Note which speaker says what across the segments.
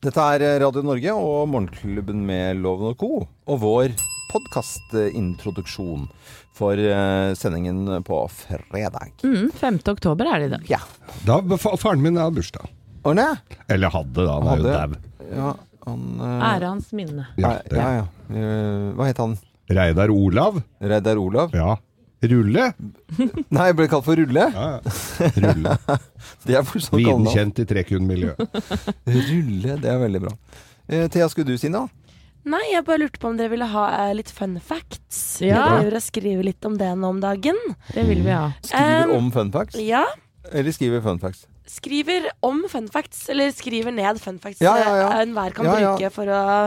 Speaker 1: Dette er eh, Radio Norge og Morgenklubben med Loven og Co. Og vår podkastintroduksjon for eh, sendingen på fredag.
Speaker 2: Mm, 5. oktober er det i dag.
Speaker 1: Ja.
Speaker 3: Da, fa- faren min har bursdag.
Speaker 1: Arne?
Speaker 3: Eller hadde, da. Han er jo
Speaker 1: Hadde.
Speaker 3: dau.
Speaker 1: Ja, han eh,
Speaker 2: Ære hans minne.
Speaker 3: Ja,
Speaker 1: er-
Speaker 3: det.
Speaker 1: ja, ja. Eh, hva het han?
Speaker 3: Reidar Olav.
Speaker 1: Reidar Olav?
Speaker 3: Ja. Rulle.
Speaker 1: Nei, ble kalt for Rulle.
Speaker 3: Ja, ja. Rulle.
Speaker 1: Det er fortsatt
Speaker 3: Viden
Speaker 1: kallenavn.
Speaker 3: kjent i trekundmiljøet.
Speaker 1: Rulle, det er veldig bra. Eh, Thea, skulle du si noe?
Speaker 4: Nei, jeg bare lurte på om dere ville ha eh, litt fun facts.
Speaker 2: Ja.
Speaker 4: Jeg driver og skriver litt om det nå om dagen.
Speaker 2: Det vil vi ha.
Speaker 1: Skriver
Speaker 4: Um,
Speaker 1: om fun facts?
Speaker 4: Ja.
Speaker 1: Eller skriver fun facts?
Speaker 4: Skriver om fun facts, eller skriver ned fun facts
Speaker 1: Ja, ja, ja.
Speaker 4: eh, enhver kan
Speaker 1: Ja, ja.
Speaker 4: bruke for å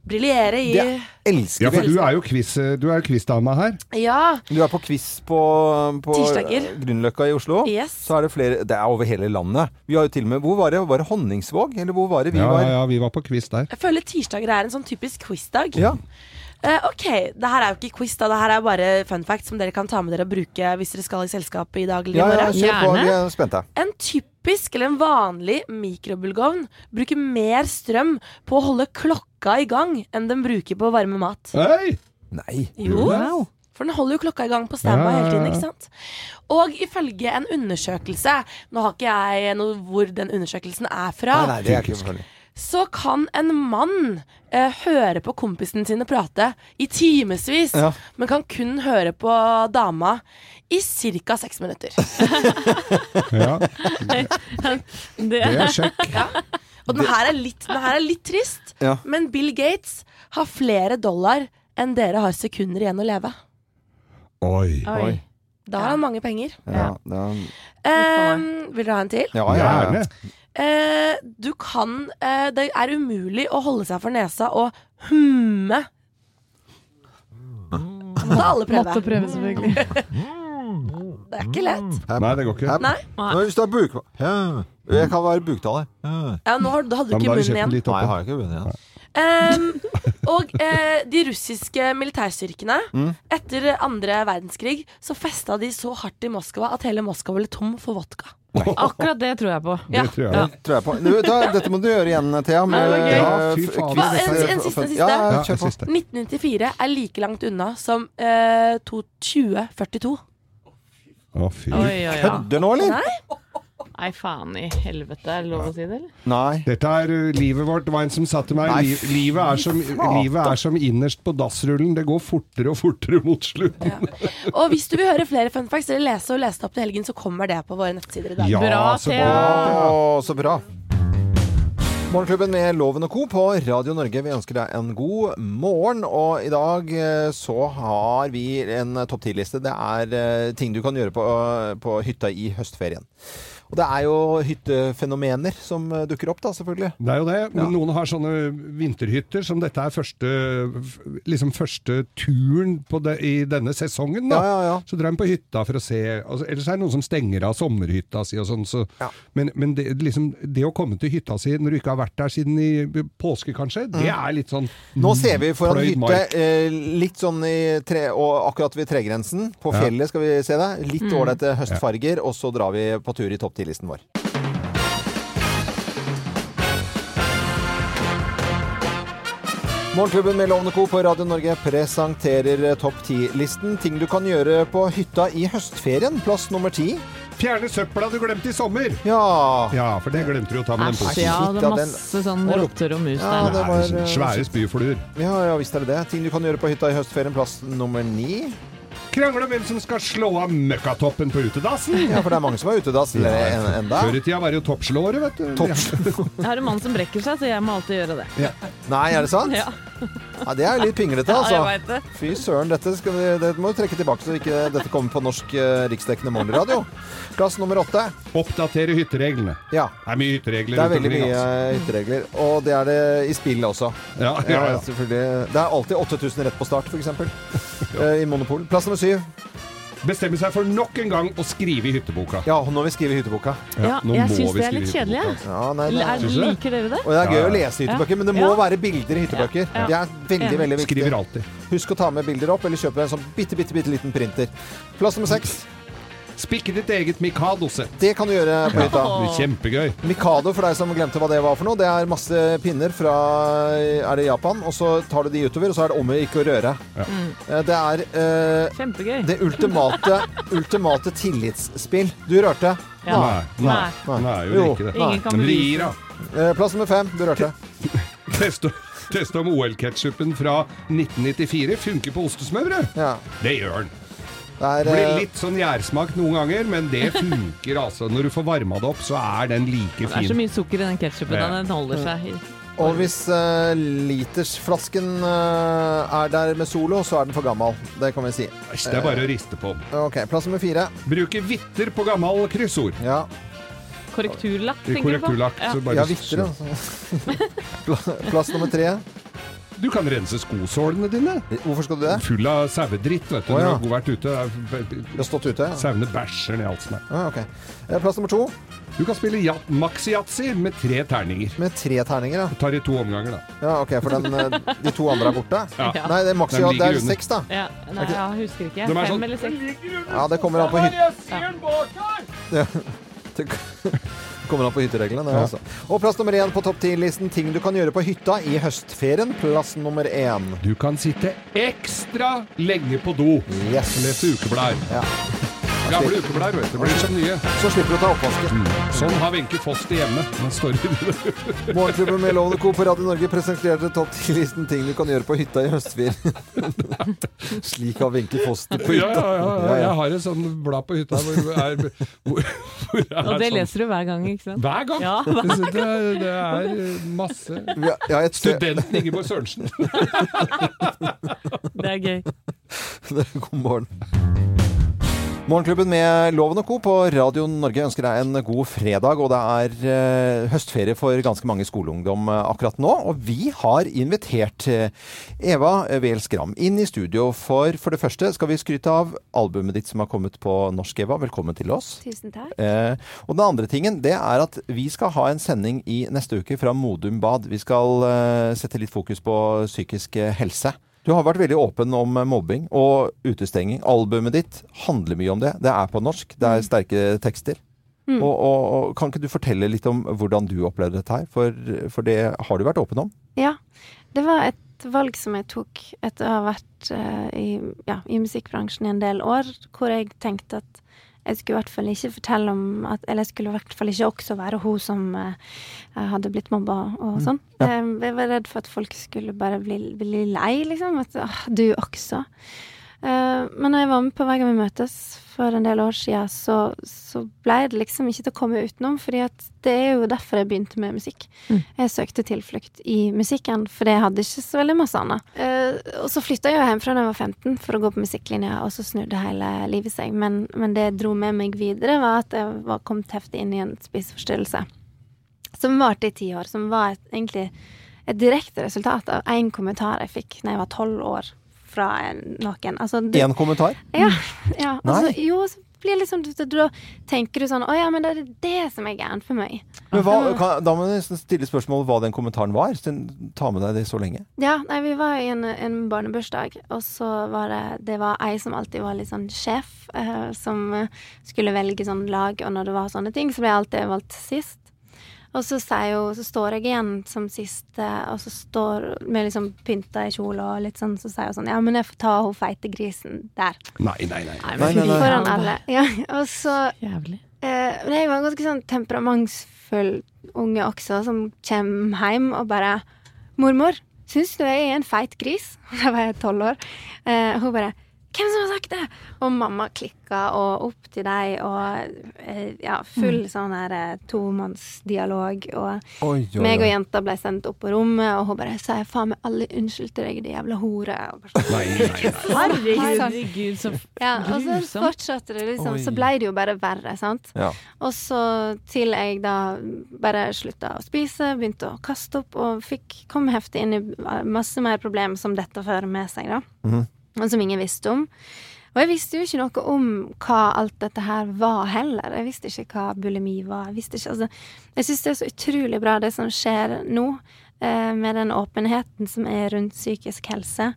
Speaker 4: briljere i
Speaker 1: Det elsker
Speaker 3: Ja,
Speaker 1: vi.
Speaker 3: for du er jo quiz, du er jo quizdama her.
Speaker 4: Ja.
Speaker 1: Du er på quiz på, på
Speaker 4: Tirsdager.
Speaker 1: Grünerløkka i Oslo.
Speaker 4: Yes.
Speaker 1: Så er det flere Det er over hele landet. Vi har jo til og med Hvor var det? Var det Honningsvåg? Eller hvor var det vi
Speaker 3: Ja,
Speaker 1: var?
Speaker 3: ja, ja, vi var på quiz der.
Speaker 4: Jeg føler tirsdager er en sånn typisk quizdag.
Speaker 1: Ja.
Speaker 4: Eh, ok, det her er jo ikke quiz, da. Det her er bare fun facts som dere kan ta med dere og bruke hvis dere skal i selskapet i dag eller
Speaker 1: Ja,
Speaker 4: i
Speaker 1: ja,
Speaker 4: morgen.
Speaker 1: kjør på.
Speaker 2: Gjerne.
Speaker 1: Vi er spente.
Speaker 4: En typisk eller en vanlig mikrobølgeovn bruker mer strøm på å holde klokka i gang enn den bruker på å varme mat.
Speaker 3: Hei!
Speaker 1: Nei.
Speaker 4: Jo,
Speaker 2: Wow.
Speaker 4: for den holder jo klokka i gang på standby
Speaker 3: Ja, ja,
Speaker 4: hele tiden,
Speaker 3: ja.
Speaker 4: ikke sant? Og ifølge en undersøkelse, nå har ikke jeg noe hvor den undersøkelsen er fra,
Speaker 1: Nei, nei, det er ikke forfølgelig.
Speaker 4: så kan en mann eh, høre på kompisene sine prate i timevis,
Speaker 1: Ja.
Speaker 4: men kan kun høre på dama i ca. seks minutter.
Speaker 3: Ja,
Speaker 2: Mm.
Speaker 3: det
Speaker 2: Det
Speaker 3: er sjekk.
Speaker 4: Og den her er litt, den her er litt trist,
Speaker 1: Ja.
Speaker 4: men Bill Gates har flere dollar enn dere har sekunder igjen å leve.
Speaker 3: Oi.
Speaker 2: Oi.
Speaker 4: Da har han mange penger.
Speaker 1: Ja, det er,
Speaker 4: Ehm, vil dere ha en til?
Speaker 1: ja, ja, ja.
Speaker 3: Gjerne.
Speaker 4: Eh, du kan eh, Det er umulig å holde seg for nesa og humme. Må da alle prøve.
Speaker 2: Måtte prøve, selvfølgelig.
Speaker 4: Det er ikke lett.
Speaker 3: Nei, det går ikke.
Speaker 4: Nei.
Speaker 5: Nei, hvis det er buk... Ja. Jeg kan være buktaler. Ja.
Speaker 4: Ja, nå har, da hadde
Speaker 3: Ja, men
Speaker 4: du
Speaker 3: Da
Speaker 4: ikke
Speaker 3: har du
Speaker 4: munnen
Speaker 3: kjeften
Speaker 4: igjen.
Speaker 3: litt
Speaker 5: Nei, jeg
Speaker 3: oppe.
Speaker 5: har ikke vunnet igjen.
Speaker 4: Ehm, og eh, de russiske militærstyrkene Etter andre verdenskrig Så festa de så hardt i Moskva At hele Moskva ble tom for vodka
Speaker 2: Akkurat det tror jeg på.
Speaker 3: Det tror jeg.
Speaker 1: Tror jeg på. Du, da, dette må du gjøre igjen, Thea. eh,
Speaker 2: Nei, det var gøy.
Speaker 3: Ja, fy faen.
Speaker 1: quiz-
Speaker 4: Hva, en- en siste, en siste?
Speaker 1: Ja, ja,
Speaker 3: Ja,
Speaker 1: kjør
Speaker 3: det
Speaker 1: på.
Speaker 3: siste.
Speaker 4: 1994 er like langt unna Som eh, to- 2042
Speaker 3: Å, fy.
Speaker 2: Oi, oi, oi.
Speaker 1: Kødder nå, eller?
Speaker 4: Nei,
Speaker 2: Nei, faen i helvete. Er det lov å si det, eller?
Speaker 1: Nei.
Speaker 3: Dette er uh, livet vårt. Det var en som sa til meg
Speaker 1: Nei,
Speaker 3: liv, livet, er som, livet er som innerst på dassrullen. Det går fortere og fortere mot slutten.
Speaker 4: og hvis du vil høre flere fun facts Eller lese og lese det opp til helgen Så kommer det på våre nettsider i dag
Speaker 2: Bra,
Speaker 3: så
Speaker 2: Thea.
Speaker 3: bra.
Speaker 1: Å, så bra. Morgenklubben med Loven og Co. på Radio Norge. Vi ønsker deg en god morgen. Og i dag eh, så har vi en topp 10-liste. Det er eh, ting du kan gjøre på, eh, på hytta i høstferien. Og det er jo hyttefenomener som eh, dukker opp, da, selvfølgelig.
Speaker 3: Det er jo det. Men Noen har sånne vinterhytter som dette er første, f- liksom første turen på det, i denne sesongen. Da.
Speaker 1: Ja, ja, ja.
Speaker 3: Så drar de på hytta for å se. Altså, ellers er det noen som stenger av sommerhytta si og sånn. Så.
Speaker 1: Ja.
Speaker 3: Men, men det, liksom, det å komme til hytta si når du ikke har vært der siden i påske, kanskje, det er litt sånn
Speaker 1: Mm. Nå ser vi foran
Speaker 3: Pløyd
Speaker 1: hytte
Speaker 3: mark.
Speaker 1: eh, litt sånn i tre, og akkurat ved tregrensen. På
Speaker 3: Ja.
Speaker 1: fjellet skal vi se det. Litt ålreite høstfarger, og så drar vi på tur i topp 10-listen vår. Morgenklubben med Lovende Co. på Radio Norge presenterer eh, Topp 10-listen. Ting du kan gjøre på hytta i høstferien. Plass nummer ti.
Speaker 3: Fjerne søpla du glemte i sommer!
Speaker 1: Ja.
Speaker 3: Ja, for det glemte du å ta med den posen.
Speaker 2: Æsj, ja. Det
Speaker 1: Shit, ja,
Speaker 2: er
Speaker 1: den-
Speaker 2: masse sånn
Speaker 1: Å,
Speaker 2: rotter og mus
Speaker 1: Ja,
Speaker 2: der.
Speaker 1: det var,
Speaker 3: Nei,
Speaker 1: eh,
Speaker 3: svære spyfluer.
Speaker 1: ja, ja visst er det det. Ting du kan gjøre på hytta i høstferien. Plass nummer ni.
Speaker 3: Krangle om hvem som skal slå av møkkatoppen på utedassen.
Speaker 1: Ja, for det er mange som er utedass eller en- enda.
Speaker 3: Før i tida var det jo toppslåere, vet du. Ja.
Speaker 2: Jeg har en mann som brekker seg, så jeg må alltid gjøre det.
Speaker 1: Nei, er det sant?
Speaker 2: Ja,
Speaker 1: Ja, det er litt pinglete,
Speaker 2: ja jeg
Speaker 1: altså.
Speaker 2: veit det.
Speaker 1: Fy søren, dette, skal vi, dette må vi trekke tilbake, så ikke dette kommer på norsk eh, riksdekkende morgenradio. Plass nummer åtte.
Speaker 3: Oppdatere hyttereglene.
Speaker 1: Ja.
Speaker 3: Det er mye hytteregler.
Speaker 1: Det er
Speaker 3: rundt
Speaker 1: veldig
Speaker 3: omkring,
Speaker 1: mye
Speaker 3: altså.
Speaker 1: eh, hytteregler. Og det er det i spill også.
Speaker 3: Ja, ja,
Speaker 1: Ja,
Speaker 3: ja.
Speaker 1: selvfølgelig. Det er alltid 8000 rett på start, f.eks. I Monopol. Plass nummer syv.
Speaker 3: Bestemme seg for nok en gang å skrive i hytteboka.
Speaker 1: Ja, når vi skriver i hytteboka.
Speaker 2: Ja,
Speaker 3: nå
Speaker 2: jeg
Speaker 3: må
Speaker 2: syns
Speaker 3: vi
Speaker 2: det er litt
Speaker 3: skrive
Speaker 2: kjedelig, jeg.
Speaker 1: Ja, nei, det
Speaker 2: Eller
Speaker 1: er...
Speaker 2: er-
Speaker 3: Synes du det?
Speaker 2: Liker dere det?
Speaker 1: Og det er gøy
Speaker 3: Ja, ja.
Speaker 1: å lese hyttebøker, men det må
Speaker 2: Ja.
Speaker 1: være bilder i hyttebøker.
Speaker 2: Ja.
Speaker 1: Det er veldig,
Speaker 2: Enig.
Speaker 1: veldig viktig.
Speaker 3: Skriver alltid.
Speaker 1: Husk å ta med bilder opp, eller kjøp deg en sånn bitte, bitte, bitte liten printer. Plass nummer seks.
Speaker 3: Spikk ditt eget Mikado-sett.
Speaker 1: Det kan du gjøre på hytta.
Speaker 3: Det blir Kjempegøy.
Speaker 1: Mikado, for deg som glemte hva det var for noe, det er masse pinner fra er det Japan, og så tar du de utover, og så er det om å ikke å røre. Eh, Det er eh,
Speaker 2: Kjempegøy.
Speaker 1: det ultimate, ultimate tillitsspill. Du rørte.
Speaker 2: Ja.
Speaker 3: Nei.
Speaker 2: Nei.
Speaker 3: Nei, det er jo
Speaker 1: Jo.
Speaker 3: ikke det.
Speaker 2: Ingen kan
Speaker 3: Men det
Speaker 2: bevise
Speaker 3: gir, da.
Speaker 1: Eh, Plass nummer fem. Du rørte.
Speaker 3: Teste, teste om OL-ketchupen fra 1994 funker på ostesmørbrød.
Speaker 1: Ja.
Speaker 3: Det gjør den.
Speaker 1: Det er,
Speaker 3: Blir
Speaker 1: eh,
Speaker 3: litt sånn gjærsmak noen ganger, men det funker altså. Når du får varma det opp, så er den like
Speaker 2: Det er så
Speaker 3: fin.
Speaker 2: mye sukker i den ketsjupen.
Speaker 3: Ja.
Speaker 2: Den holder seg i
Speaker 1: og hvis eh, litersflasken eh, er der med solo, så er den for gammel. Det kan vi si.
Speaker 3: Æsj, Det er bare å riste på den.
Speaker 1: Ok, Plass nummer fire.
Speaker 3: Bruke vitter på gammel kryssord.
Speaker 1: Ja,
Speaker 2: korrekturlakk,
Speaker 3: I
Speaker 2: tenker du på?
Speaker 3: korrekturlakk.
Speaker 2: Ja.
Speaker 3: så bare
Speaker 1: ja viktigere. Altså. Pla- Plass nummer tre.
Speaker 3: Du kan rense skosålene dine.
Speaker 1: Hvorfor skal du det?
Speaker 3: Full av sauedritt, vet du.
Speaker 1: Å,
Speaker 3: Når du
Speaker 1: ja.
Speaker 3: har vært ute.
Speaker 1: Du har stått ute? Ja.
Speaker 3: Sauene bæsjer ned halsen her.
Speaker 1: Ah, ok. Eh, Plass nummer to
Speaker 3: Du kan spille ja- maxi-yatzy med tre terninger.
Speaker 1: med tre terninger. Ja.
Speaker 3: Tar i to omganger, da.
Speaker 1: Ja, ok, for den, eh, de to andre er borte?
Speaker 3: Ja.
Speaker 2: Ja.
Speaker 1: Nei, det er maks
Speaker 3: Den
Speaker 1: ja, det
Speaker 3: ligger
Speaker 1: er
Speaker 3: under.
Speaker 1: seks, da.
Speaker 2: Ja. Nei, jeg husker ikke.
Speaker 3: De er
Speaker 2: Fem
Speaker 3: sånn-
Speaker 2: eller seks.
Speaker 1: Ja, det kommer an på, hyt
Speaker 3: Jeg ser den bak her!
Speaker 1: det kommer an på hyttereglene. det, Altså. Og plass nummer én på topp ti-listen ting du kan gjøre på hytta i høstferien. Plass nummer én.
Speaker 3: Du kan sitte ekstra lenge på do.
Speaker 1: Yes.
Speaker 3: Lese ukeblader.
Speaker 1: Ja.
Speaker 3: Gamle ukeblader, vet du. Blir som nye.
Speaker 1: Så slipper du å ta oppvasken.
Speaker 3: Sånn har Wenche Foss det hjemme. Men står det-
Speaker 1: Morgenklubben med Lovende Co på Radio Norge presenterte topp ti-listen ting du kan gjøre på hytta i høstferien. Slik har Wenche Foss det på
Speaker 3: ja,
Speaker 1: hytta.
Speaker 3: ja, ja,
Speaker 1: Ja,
Speaker 3: ja.
Speaker 1: ja.
Speaker 3: Jeg har et sånt blad på hytta hvor det er, hvor, hvor det er
Speaker 2: Og det
Speaker 3: sånn-
Speaker 2: leser du hver gang, ikke sant?
Speaker 3: Hver gang!
Speaker 2: Ja, hver
Speaker 3: Jeg synes Det, er, det er masse
Speaker 1: Vi har- Jeg har et sted
Speaker 3: Studenten Ingeborg Sørensen.
Speaker 2: Det er gøy.
Speaker 1: God morgen. Morgenklubben med Loven og Co. på Radio Norge ønsker deg en god fredag. Og det er eh, høstferie for ganske mange skoleungdom eh, akkurat nå. Og vi har invitert eh, Eva Wehl Skram inn i studio for For det første skal vi skryte av albumet ditt som har kommet på norsk, Eva. Velkommen til oss.
Speaker 6: Tusen takk.
Speaker 1: Eh, og den andre tingen, det er at vi skal ha en sending i neste uke fra Modum Bad. Vi skal eh, sette litt fokus på psykisk eh, helse. Du har vært veldig åpen om eh, mobbing og utestenging. Albumet ditt handler mye om det. Det er på norsk, det er sterke tekster. Og, og, og kan ikke du fortelle litt om hvordan du opplevde dette her? For, for det har du vært åpen om.
Speaker 6: Ja. Det var et valg som jeg tok etter å ha vært eh, i, ja, i musikkbransjen i en del år, hvor jeg tenkte at jeg skulle i hvert fall ikke fortelle om at, Eller jeg skulle i hvert fall ikke også være hun som eh, hadde blitt mobba og sånn. Eh, jeg var redd for at folk skulle bare bli, bli lei, liksom. At «Åh, du også. Eh, men når jeg var med på Hver gang vi møtes for en del år siden, så, så blei det liksom ikke til å komme utenom. fordi at det er jo derfor jeg begynte med musikk. Jeg søkte tilflukt i musikken, for det hadde ikke så veldig masse annet. Eh, og så flytta jeg jo hjemmefra da jeg var 15 for å gå på musikklinja, og så snudde hele livet seg. Men, men det jeg dro med meg videre, var at jeg var kommet heftig inn i en spiseforstyrrelse. Som varte i ti år. Som var et, egentlig et direkte resultat av én kommentar jeg fikk da jeg var tolv år fra en, noen. Altså, du-
Speaker 1: Én kommentar.
Speaker 6: ja. ja. Og så,
Speaker 1: Nei.
Speaker 6: jo, så blir det liksom Da tenker du sånn Å ja, men da er det det som er gærent for meg.
Speaker 1: Men hva, kan, da må du nesten stille spørsmål hva den kommentaren var. siden- Ta med deg det så lenge.
Speaker 6: Ja, nei, vi var i en, en barnebursdag, og så var det Det var ei som alltid var litt sånn sjef, eh, som eh, skulle velge sånn lag, og når det var sånne ting, så ble jeg alltid valgt sist. Og så, sier jo, så står jeg igjen som siste, og så står med liksom pynta i kjole og litt sånn, så sier hun sånn Ja, men jeg får ta hun feite grisen der.
Speaker 3: Nei, nei, nei.
Speaker 2: Nei,
Speaker 1: Nei, nei, nei.
Speaker 6: Foran alle. Ja, og så
Speaker 2: Jævlig.
Speaker 6: Eh, men jeg var en ganske sånn temperamentsfull unge også, som kommer hjem og bare 'Mormor, syns du jeg er en feit gris?' Da var jeg tolv år. Eh, hun bare 'Hvem som har sagt det?' Og mamma klikka, og opp til deg, og eh, ja, full sånn her eh, tomannsdialog. Og
Speaker 1: Oi,
Speaker 6: meg og jenta ble sendt opp på rommet, og hun bare 'Sa jeg faen meg alle unnskyld til deg, din jævla hore?' Og bare, sånn,
Speaker 3: nei, nei, nei.
Speaker 2: Herregud, så
Speaker 6: ja, og så
Speaker 2: grusomt.
Speaker 6: fortsatte det liksom.
Speaker 1: Oi.
Speaker 6: Så ble det jo bare verre, sant.
Speaker 1: Ja.
Speaker 6: Og så til jeg da bare slutta å spise, begynte å kaste opp og fikk, kom heftig inn i masse mer problemer som dette fører med seg, da. Og som ingen visste om. Og jeg visste jo ikke noe om hva alt dette her var heller. Jeg visste ikke hva bulimi var. Jeg visste ikke, altså, jeg syns det er så utrolig bra det som skjer nå. eh, med den åpenheten som er rundt psykisk helse.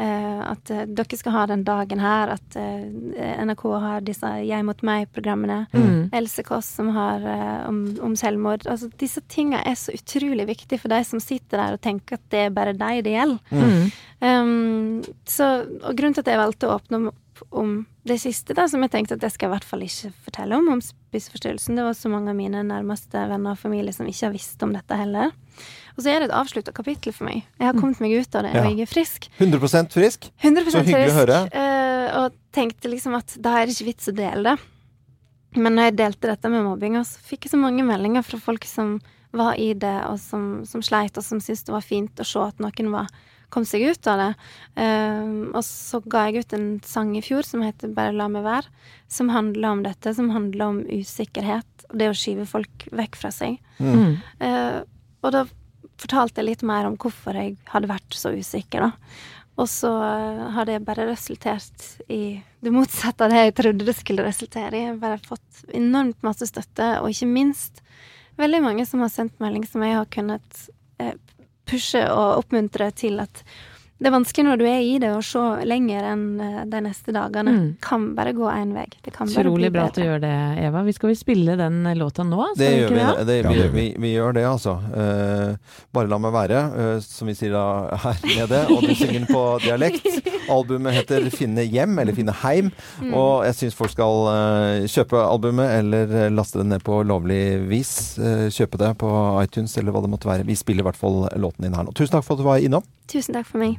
Speaker 6: Eh, at eh, dere skal ha den dagen her, at eh, NRK har disse Jeg mot meg-programmene. Else Kåss som har eh, om, om selvmord. Altså, disse tinga er så utrolig viktige for de som sitter der og tenker at det er bare deg det gjelder. Um, så, og grunnen til at jeg valgte å åpne om, om det siste, da, som jeg tenkte at det skal jeg i hvert fall ikke fortelle om, om spiseforstyrrelsen, det var så mange av mine nærmeste venner og familie som ikke har visst om dette heller. Og så er det et avslutta kapittel for meg. Jeg har kommet meg ut av det, og jeg er frisk.
Speaker 1: 100 frisk.
Speaker 6: 100
Speaker 1: Så hyggelig å
Speaker 6: frisk,
Speaker 1: høre.
Speaker 6: eh, og tenkte liksom at da er det ikke vits å dele det. Men når jeg delte dette med mobbinga, så fikk jeg så mange meldinger fra folk som var i det, og som, som sleit, og som syntes det var fint å se at noen var, kom seg ut av det. Eh, og så ga jeg ut en sang i fjor som heter 'Bare la meg være', som handler om dette, som handler om usikkerhet og det å skyve folk vekk fra seg.
Speaker 2: Mm.
Speaker 6: Eh, og da fortalte jeg litt mer om hvorfor jeg hadde vært så usikker, da. Og så eh, har det bare resultert i det motsatte av det jeg trodde det skulle resultere i. Jeg har bare fått enormt masse støtte, og ikke minst veldig mange som har sendt melding som jeg har kunnet eh, pushe og oppmuntre til at det er vanskelig når du er i det, å se lenger enn eh, de neste dagene.
Speaker 2: Mm.
Speaker 6: Kan bare gå én vei. Det kan bare
Speaker 2: Utrolig
Speaker 6: bli
Speaker 2: bra at du
Speaker 6: bedre.
Speaker 2: gjør det, Eva. Vi skal vel spille den eh, låta nå? Skal
Speaker 1: Det
Speaker 2: vi
Speaker 1: gjør
Speaker 2: ikke
Speaker 1: vi,
Speaker 2: det?
Speaker 1: det, vi,
Speaker 3: Ja, det gjør
Speaker 1: vi, vi gjør det, altså. Eh, bare la meg være, eh, som vi sier da her nede. Og du synger den på dialekt. Albumet heter 'Finne hjem' eller 'Finne heim'.
Speaker 2: Mm.
Speaker 1: Og jeg syns folk skal eh, kjøpe albumet eller eh, laste det ned på lovlig vis. Eh, kjøpe det på iTunes eller hva det måtte være. Vi spiller i hvert fall låten din her nå. Tusen takk for at du var innom.
Speaker 6: Tusen takk for meg.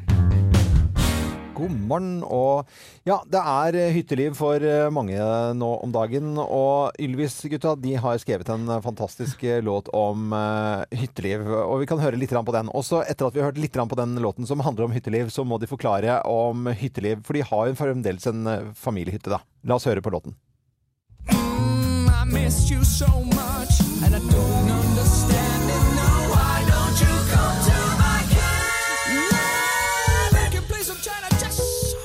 Speaker 1: God morgen. Og ja, det er eh, hytteliv for eh, mange nå om dagen. Og Ylvis-gutta de har skrevet en eh, fantastisk eh, låt om eh, hytteliv. Og vi kan høre litt grann på den. Også etter at vi har hørt litt grann på den låten som handler om hytteliv, så må de forklare om hytteliv. For de har jo fremdeles en eh, familiehytte, da. La oss høre på låten.
Speaker 7: Mm, I missed you so much, and I don't understand it now. Why don't you come to my cabin? We can play some China Jazz,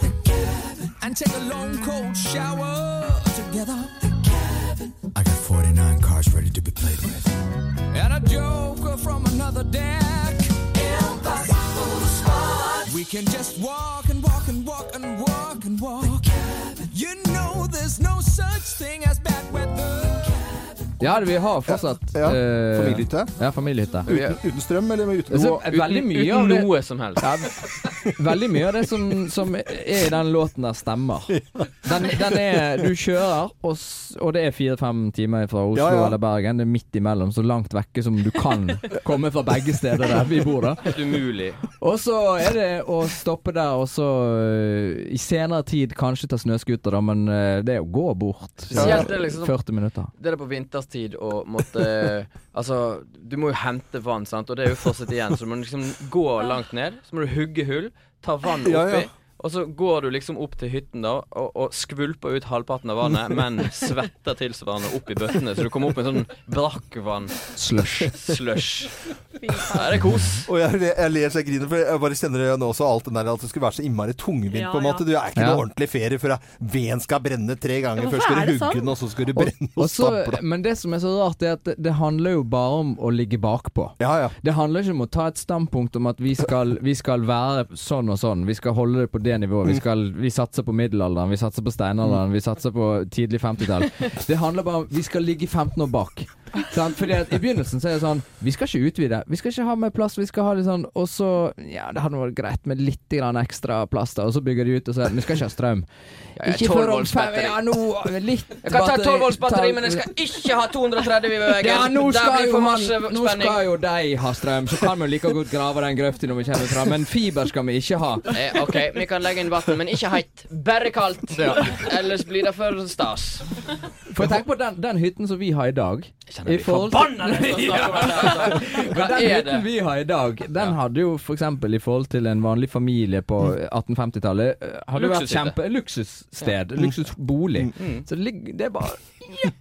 Speaker 7: the cabin, and take a long cold shower together, the cabin. I got 49 cards ready to be played with, and a joker from another deck. Impossible to spot. We can just walk and walk and walk and walk and walk. You know there's no such thing as bad weather.
Speaker 8: Ja, vi har fortsatt
Speaker 1: Ja, ja.
Speaker 8: eh,
Speaker 1: Familiehytte?
Speaker 8: Ja, familiehytte. Vi-
Speaker 1: Uten strøm eller med
Speaker 8: Altså,
Speaker 1: utedo?
Speaker 8: veldig mye av
Speaker 9: Uten
Speaker 8: det
Speaker 9: noe som helst.
Speaker 8: ja, ve- Veldig mye av det som, som er i den låten der, stemmer. Den, den er Du kjører, og, s- og det er fire-fem timer fra Oslo
Speaker 1: Ja, ja.
Speaker 8: eller Bergen. Det er midt imellom, så langt vekke som du kan komme fra begge steder der vi bor, da.
Speaker 9: Helt umulig.
Speaker 8: Og så er det å stoppe der, og så øh, i senere tid kanskje ta snøscooter, da, men øh, det er å gå bort.
Speaker 9: Spesielt er det liksom-
Speaker 8: 40 minutter.
Speaker 9: Det er på vinterstid å måtte Altså, du må jo hente vann, sant, og det er jo fortsatt igjen, så du må liksom gå langt ned. Så må du hugge hull, ta vann oppi.
Speaker 1: Ja, ja.
Speaker 9: Og så går du liksom opp til hytten da og, og skvulper ut halvparten av vannet, men svetter tilsvarende opp i bøttene, så du kommer opp med sånn brakkvann-slush.
Speaker 8: Slush.
Speaker 9: Ja, det er kos.
Speaker 1: Og jeg, jeg ler så jeg griner, for jeg bare kjenner det nå også, alt den der at det skulle være så innmari tungvint
Speaker 2: Ja,
Speaker 1: på en
Speaker 2: ja.
Speaker 1: måte. Du er ikke
Speaker 8: Ja.
Speaker 1: noe ordentlig ferie før jeg- veden skal brenne tre ganger.
Speaker 4: Ja,
Speaker 1: Først
Speaker 4: hvorfor
Speaker 1: skal
Speaker 4: er
Speaker 1: du
Speaker 4: det
Speaker 1: hugge
Speaker 4: sånn?
Speaker 1: den, og så skal du
Speaker 8: Og-
Speaker 1: brenne
Speaker 8: og
Speaker 1: og
Speaker 8: så-
Speaker 1: stampe den.
Speaker 8: men det som er så rart, er at det, det handler jo bare om å ligge bakpå.
Speaker 1: Ja, ja.
Speaker 8: Det handler ikke om å ta et standpunkt om at vi skal, vi skal være sånn og sånn. Vi skal holde det på det nivået. Vi, skal, vi satser på middelalderen, vi satser på steinalderen, vi satser på tidlig 50-tall. Det handler bare om vi skal ligge 15 år bak. Sant? Fordi at I begynnelsen så er det sånn Vi skal ikke utvide. Vi skal ikke ha mer plass. Vi skal ha litt sånn Og så Ja, det hadde vært greit med litt grann ekstra plass, da. Og så bygger de ut, og så er det Vi skal ikke ha strøm.
Speaker 9: jeg er
Speaker 8: Ikke
Speaker 9: 12
Speaker 8: før om
Speaker 9: volts
Speaker 8: fem
Speaker 9: batteri.
Speaker 8: Ja, nå eh, Litt
Speaker 9: Jeg kan ta
Speaker 8: batteri-
Speaker 9: 12 volts batteri,
Speaker 8: ta-
Speaker 9: men jeg skal ikke ha 230 i veggen.
Speaker 8: ja, nå
Speaker 9: Der
Speaker 8: skal,
Speaker 9: blir
Speaker 8: jo
Speaker 9: for
Speaker 8: han,
Speaker 9: masse
Speaker 8: nå
Speaker 9: spenning.
Speaker 8: skal jo de ha strøm, så kan vi jo like godt grave den grøften når vi kommer fram. Men fiber skal vi ikke ha.
Speaker 9: Eh, OK, vi kan legge inn vann, men ikke heit. Bare kaldt. Ellers blir det for stas.
Speaker 8: For tenk på den, den hytten som vi har i dag. I forhold til-
Speaker 9: Forbanna deg for å snakke om det! altså. Hva
Speaker 8: Den
Speaker 9: er
Speaker 8: hytten
Speaker 9: det?
Speaker 8: vi har i dag, den hadde jo for eksempel i forhold til en vanlig familie på 1850-tallet eh, Hadde jo vært
Speaker 9: Luksushytte.
Speaker 8: kjempe luksussted, luksusbolig. Så det, ligger- det er bare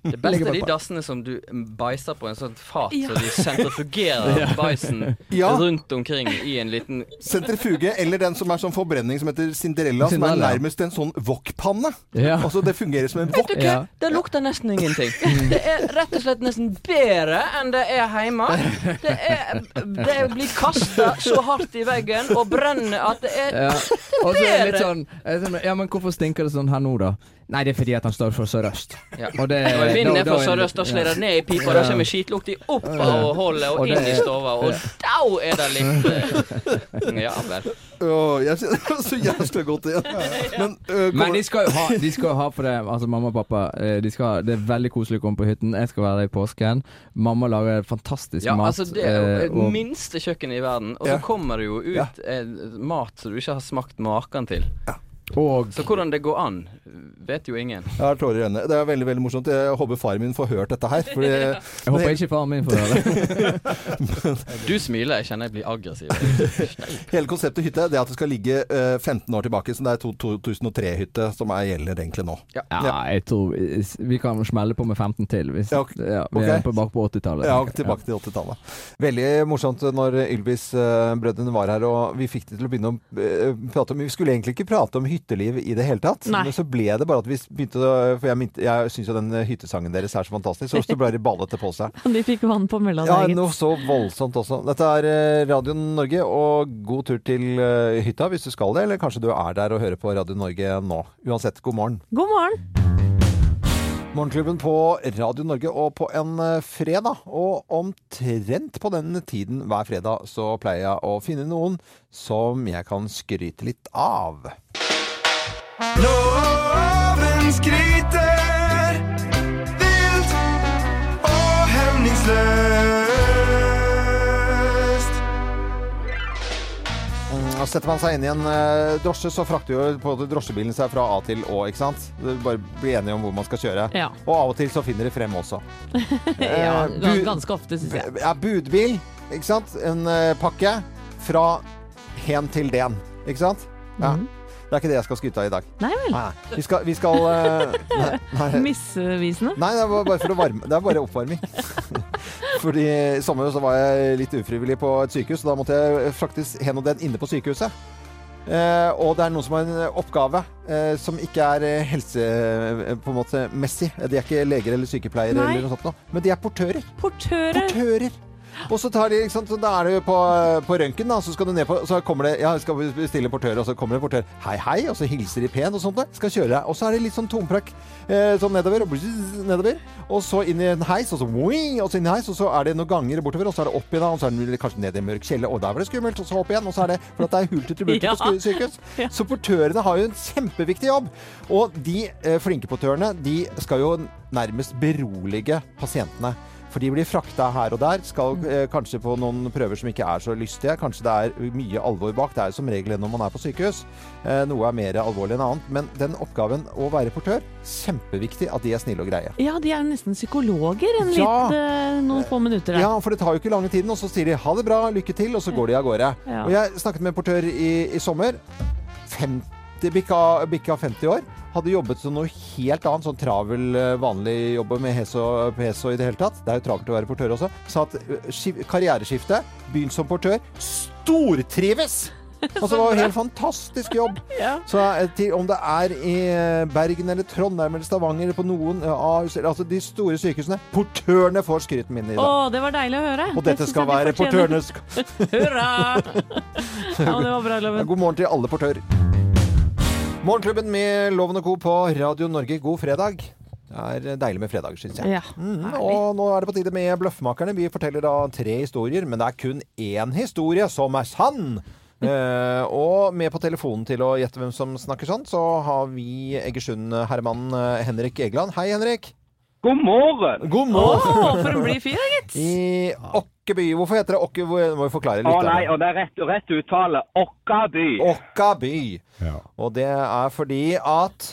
Speaker 9: Det beste er de dassene som du bæsjer på en sånn fat,
Speaker 4: Ja.
Speaker 9: så du sentrifugerer bæsjen
Speaker 1: Ja.
Speaker 9: rundt omkring i en liten
Speaker 1: Sentrifuge, eller den som er sånn forbrenning som heter Cinderella, som er
Speaker 8: Cinderella.
Speaker 1: nærmest en sånn wokpanne.
Speaker 8: Ja.
Speaker 1: Altså, det fungerer som en wok.
Speaker 8: Ja.
Speaker 9: Mm. Det lukter nesten ingenting. Det er rett og slett nesten bedre enn det er hjemme. Det, er, det blir kasta så hardt i veggen og brenner at det er
Speaker 8: Ja. Og så er det litt sånn eh, sånn, Ja, men hvorfor stinker det sånn her nå, da? Nei, det er fordi at han står for Sørøst.
Speaker 9: sånn- Ja.
Speaker 8: Og det
Speaker 9: Når vinden er
Speaker 8: da- da
Speaker 9: fra
Speaker 8: er det-
Speaker 9: sørøst, da slår det ned i pipa, da kommer skitlukta opp av hullet og
Speaker 8: Og det
Speaker 9: inn i
Speaker 8: er-
Speaker 9: stua, og da er det litt eh, Ja vel.
Speaker 1: Åh, jeg kjenner så jævlig godt igjen. Men,
Speaker 8: Men
Speaker 1: øh, kommer,
Speaker 8: de skal jo ha, de skal jo ha for det Altså mamma og pappa eh, de skal ha, Det er veldig koselig å komme på hytten. Jeg skal være der i påsken. Mamma lager fantastisk
Speaker 9: Ja,
Speaker 8: mat.
Speaker 9: altså Det er jo
Speaker 8: eh,
Speaker 9: det
Speaker 8: og-
Speaker 9: minste kjøkkenet i verden, og så
Speaker 1: Ja.
Speaker 9: kommer det jo ut
Speaker 1: Ja.
Speaker 9: eh, mat som du ikke har smakt maken til.
Speaker 8: og
Speaker 9: Så hvordan det går an, vet jo ingen.
Speaker 1: jeg har tårer i øynene. Det er veldig veldig morsomt. Jeg håper faren min får hørt dette her. Fordi,
Speaker 8: jeg håper ikke faren min får høre det.
Speaker 9: Du smiler, jeg kjenner jeg blir aggressiv.
Speaker 1: Hele konseptet hytte det er at det skal ligge øh, 15 år tilbake. Så det er to- 2003-hytte som er, gjelder egentlig nå.
Speaker 8: Ja, jeg tror vi- Vi kan smelle på med 15 til. Hvis,
Speaker 1: Ja,
Speaker 8: ja,
Speaker 1: ok.
Speaker 8: vi
Speaker 1: Ok.
Speaker 8: er på, bak på 80-tallet.
Speaker 1: Ja, og tilbake til 80-tallet. Veldig morsomt når Ylvis-brødrene var her og vi fikk det til å begynne å eh, prate om Vi skulle egentlig ikke prate om hytteliv i det hele tatt,
Speaker 2: Nei.
Speaker 1: men så ble det bare at vi begynte å For jeg, minte- jeg syns jo den eh, hyttesangen deres er så fantastisk, og så ble det ballete på seg.
Speaker 2: Og de fikk vann på mølla
Speaker 1: Ja,
Speaker 2: der, gitt.
Speaker 1: noe så voldsomt også. Dette er eh, Radio Norge, og god tur til eh, hytta hvis du skal det, eller kanskje du er der og hører på Radio Norge nå. Uansett, god morgen.
Speaker 2: God morgen.
Speaker 1: Morgenklubben på Radio Norge, og på en eh, fredag, og omtrent på den tiden hver fredag, så pleier jeg å finne noen som jeg kan skryte litt av.
Speaker 7: Loven skryter vilt og hemningsløst.
Speaker 1: Mm, og Setter man seg inn i en eh, drosje, så frakter jo på en måte drosjebilen seg fra A til Å, ikke sant? Du Bare bli enige om hvor man skal kjøre.
Speaker 2: Ja.
Speaker 1: Og av og til så finner de frem også.
Speaker 2: ja
Speaker 1: Eh,
Speaker 2: gans-
Speaker 1: bu- eh,
Speaker 2: ganske ofte, syns jeg.
Speaker 1: Ja, budbil, ikke sant? En eh, pakke fra hen til den, ikke sant? Ja.
Speaker 2: Mhm.
Speaker 1: Det er ikke det jeg skal skryte av i dag.
Speaker 2: Nei vel.
Speaker 1: Nei, vi skal, vi skal eh, nei, nei,
Speaker 2: Misvisende.
Speaker 1: nei, det var bare for å varme Det er bare oppvarming. Fordi i sommer så var jeg litt ufrivillig på et sykehus, og da måtte jeg fraktes hen og den inne på sykehuset. Eh, og det er noen som har en oppgave eh, som ikke er eh, helse eh, på en måte messig. De er ikke leger eller sykepleiere,
Speaker 2: Nei.
Speaker 1: eller noe sånt, noe, men de er portører.
Speaker 2: Portører.
Speaker 1: Portører. Og så tar de, ikke sant, så da er du på, på røntgen, da, så skal du ned på Så kommer det Ja, skal vi bestille portør, og så kommer det en portør. Hei, hei, og så hilser de pent og sånt. da, Skal kjøre deg. Og så er det litt sånn tomprakk eh, sånn nedover, og bzz, nedover. Og så inn i en heis, og så wing, og så inn i en heis, og så er det noen ganger bortover, og så er det opp igjen, da, og så er det kanskje ned i en mørk kjelle, og der var det skummelt, og så opp igjen, og så er det For at det er hult til tribut
Speaker 2: Ja.
Speaker 1: på sku- sykehus.
Speaker 2: Ja.
Speaker 1: Så portørene har jo en kjempeviktig jobb. Og de eh, flinke portørene, de skal jo nærmest berolige pasientene. For de blir frakta her og der, skal
Speaker 2: Mm.
Speaker 1: eh, kanskje på noen prøver som ikke er så lystige. Kanskje det er mye alvor bak. Det er jo som regel det når man er på sykehus. Eh, noe er mer alvorlig enn annet. Men den oppgaven å være portør, kjempeviktig at de er snille og greie.
Speaker 2: Ja, de er jo nesten psykologer en
Speaker 1: Ja.
Speaker 2: litt, eh, noen få minutter.
Speaker 1: Ja,
Speaker 2: der.
Speaker 1: for det tar jo ikke lange tiden, og så sier de ha det bra, lykke til, og så går de av gårde.
Speaker 2: Ja.
Speaker 1: Og jeg snakket med en portør i, i sommer. 50, bikka, bikka 50 år. Hadde jobbet som noe helt annet, sånn travel, eh, vanlig jobb med hes og pes og i det hele tatt. Det er jo travelt å være portør også. Sa at eh, skiv- karriereskifte, begynn som portør, stortrives! Altså, det var jo helt fantastisk jobb.
Speaker 2: Ja.
Speaker 1: Så eh, til, om det er i eh, Bergen eller Trondheim eller Stavanger eller på noen eh, Ahus, eller, altså de store sykehusene, portørene får skryten min i
Speaker 2: Å,
Speaker 1: dag.
Speaker 2: det var deilig å høre.
Speaker 1: Og dette
Speaker 2: Det synes
Speaker 1: skal
Speaker 2: jeg de
Speaker 1: være
Speaker 2: fortjener.
Speaker 1: portørenes
Speaker 2: Hurra! Ja, det var bra, Loven.
Speaker 1: God morgen til alle portører. Morgenklubben med Loven og Co. på Radio Norge, god fredag. Det er deilig med fredager, syns jeg.
Speaker 2: Ja.
Speaker 1: Mm, og nå er det på tide med Bløffmakerne. Vi forteller da tre historier, men det er kun én historie som er sann.
Speaker 2: Mm.
Speaker 1: Eh, og med på telefonen til å gjette hvem som snakker sant, så har vi Egersund-herremannen eh, Henrik Egeland. Hei, Henrik.
Speaker 10: God morgen!
Speaker 1: God
Speaker 2: Å, for en blid fyr, gitt.
Speaker 1: I Åkkeby. Hvorfor heter det Åkke... Hvor- Må vi forklare
Speaker 10: Å
Speaker 1: litt?
Speaker 10: nei, og det er rett, rett uttale. Åkkaby.
Speaker 1: Åkkaby.
Speaker 3: Ja.
Speaker 1: Og det er fordi at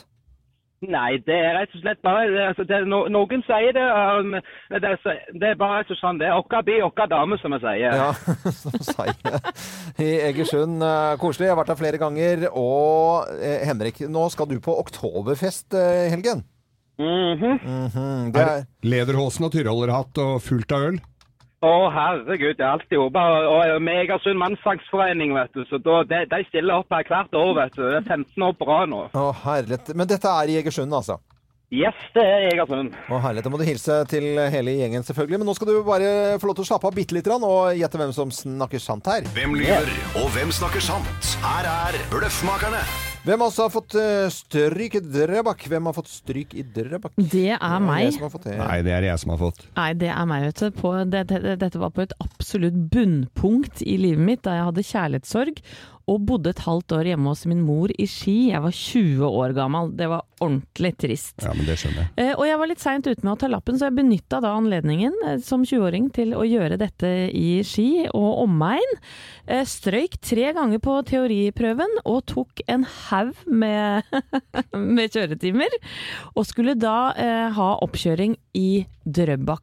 Speaker 10: Nei, det er rett og slett bare det, altså, det, er no, Noen sier det, um, det, er så- det er bare rett og slett sånn det er. Åkkaby, åkkadame, som jeg sier.
Speaker 1: Ja, som seie. I Egersund. eh, Koselig. Jeg har vært der flere ganger. Og eh, Henrik, nå skal du på oktoberfest eh, i helgen.
Speaker 10: Mhm.
Speaker 1: Mhm, det
Speaker 3: Er
Speaker 1: er,
Speaker 3: lederhosen og tyrollerhatt og fullt av øl?
Speaker 10: Å herregud, det er alltid oppe. Og jeg er Megasund mannsangsforening, vet du. Så da, de, de stiller opp her hvert år, vet du. Det er 15 år på rad nå.
Speaker 1: å, herlighet. Men dette er i Egersund, altså.
Speaker 10: Yes, det er Egersund.
Speaker 1: Og herlighet, Da må du hilse til hele gjengen, selvfølgelig. Men nå skal du bare få lov til å slappe av bitte lite grann, og gjette hvem som snakker sant her.
Speaker 11: Hvem lyver, og hvem snakker sant? Her er Bløffmakerne.
Speaker 1: Hvem av oss har fått eh, stryk i Drøbak? Hvem har fått stryk i Drøbak?
Speaker 2: Det er meg.
Speaker 1: Jeg som har fått det.
Speaker 3: Nei, det er jeg som har fått.
Speaker 2: Nei, det er meg, vet du. På, det, det, dette var på et absolutt bunnpunkt i livet mitt, da jeg hadde kjærlighetssorg og bodde et halvt år hjemme hos min mor i Ski. Jeg var 20 år gammel. Det var ordentlig trist.
Speaker 3: Ja, men det skjønner jeg.
Speaker 2: Eh, Og jeg var litt seint ute med å ta lappen, så jeg benytta da anledningen eh, som 20-åring til å gjøre dette i Ski og omegn. Eh, Strøyk tre ganger på teoriprøven og tok en haug med, med kjøretimer. Og skulle da eh, ha oppkjøring i